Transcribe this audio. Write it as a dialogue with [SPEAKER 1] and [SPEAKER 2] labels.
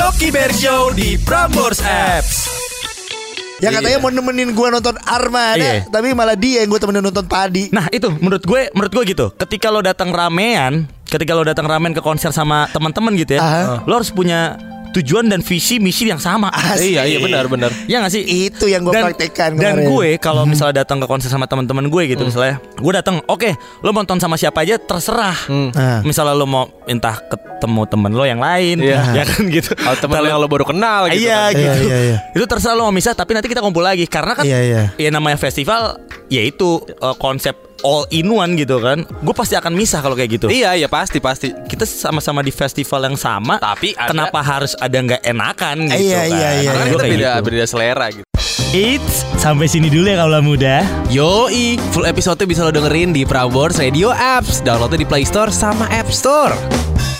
[SPEAKER 1] Oki Bear Show di Prambors Apps.
[SPEAKER 2] Iya.
[SPEAKER 3] Yang katanya mau nemenin gua nonton Armada,
[SPEAKER 1] Iya.
[SPEAKER 3] tapi malah dia yang gua temenin nonton Padi.
[SPEAKER 1] Nah itu menurut gue menurut gue gitu. Ketika lo datang ramean, ketika lo datang ramean ke konser sama teman-teman gitu ya,
[SPEAKER 3] Aha.
[SPEAKER 1] lo harus punya tujuan dan visi misi yang sama.
[SPEAKER 3] Asik.
[SPEAKER 2] Iya iya benar benar.
[SPEAKER 1] Ya gak sih?
[SPEAKER 3] Ah. Itu yang gua
[SPEAKER 1] Dan
[SPEAKER 3] praktekkan kemarin. Hmm.
[SPEAKER 1] gue kalau misalnya datang ke konser sama teman-teman gue gitu misalnya, gue datang, oke, lo mau nonton sama siapa aja terserah.
[SPEAKER 3] Ah.
[SPEAKER 1] Misalnya lo mau entah ketemu temen lo yang lain,
[SPEAKER 2] Iya.
[SPEAKER 1] ya kan gitu.
[SPEAKER 2] Oh, temen
[SPEAKER 1] Entah
[SPEAKER 2] lo
[SPEAKER 1] lo-
[SPEAKER 2] yang lo baru kenal gitu.
[SPEAKER 1] iya
[SPEAKER 2] kan.
[SPEAKER 1] gitu.
[SPEAKER 3] Iya, iya, iya.
[SPEAKER 1] Itu terserah lo mau misah tapi nanti kita kumpul lagi karena kan
[SPEAKER 3] Iya, iya.
[SPEAKER 1] ya namanya festival yaitu konsep all in one gitu kan. Gue pasti akan misah kalau kayak gitu.
[SPEAKER 2] Iya iya pasti pasti.
[SPEAKER 1] Kita sama-sama di festival yang sama,
[SPEAKER 2] Tapi ada-
[SPEAKER 1] kenapa harus ada nggak enakan gitu
[SPEAKER 3] Iya,
[SPEAKER 1] kan?
[SPEAKER 3] iya,
[SPEAKER 1] Gua
[SPEAKER 3] iya,
[SPEAKER 2] Karena
[SPEAKER 3] iya.
[SPEAKER 2] kita
[SPEAKER 1] kayak
[SPEAKER 2] beda
[SPEAKER 1] gitu.
[SPEAKER 2] beda selera gitu.
[SPEAKER 4] Eits, sampai sini dulu ya kaulah muda.
[SPEAKER 2] Yoi, full episode bisa lo dengerin di Prambors Radio Apps. Downloadnya di Play Store sama App Store.